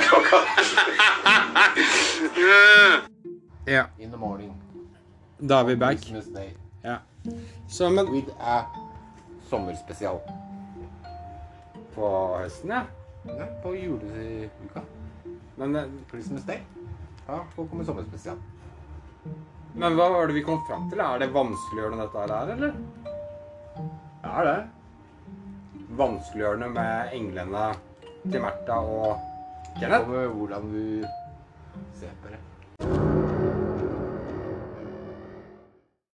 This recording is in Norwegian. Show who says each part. Speaker 1: klokka.
Speaker 2: Ja.
Speaker 1: In the morning.
Speaker 2: Da er vi back.
Speaker 1: Christmas day.
Speaker 2: Ja. Så, men
Speaker 1: With a sommerspesial.
Speaker 2: På høsten, ja.
Speaker 1: Nei, på juleuka.
Speaker 2: Men,
Speaker 1: Christmas day. Ja, så kommer sommerspesial.
Speaker 2: men hva var det vi kom fram til? Er det vanskeliggjørende dette her, er, eller? Ja, det. Vanskeliggjørende med englene til Märtha og Kenneth?
Speaker 1: Over hvordan du ser på det.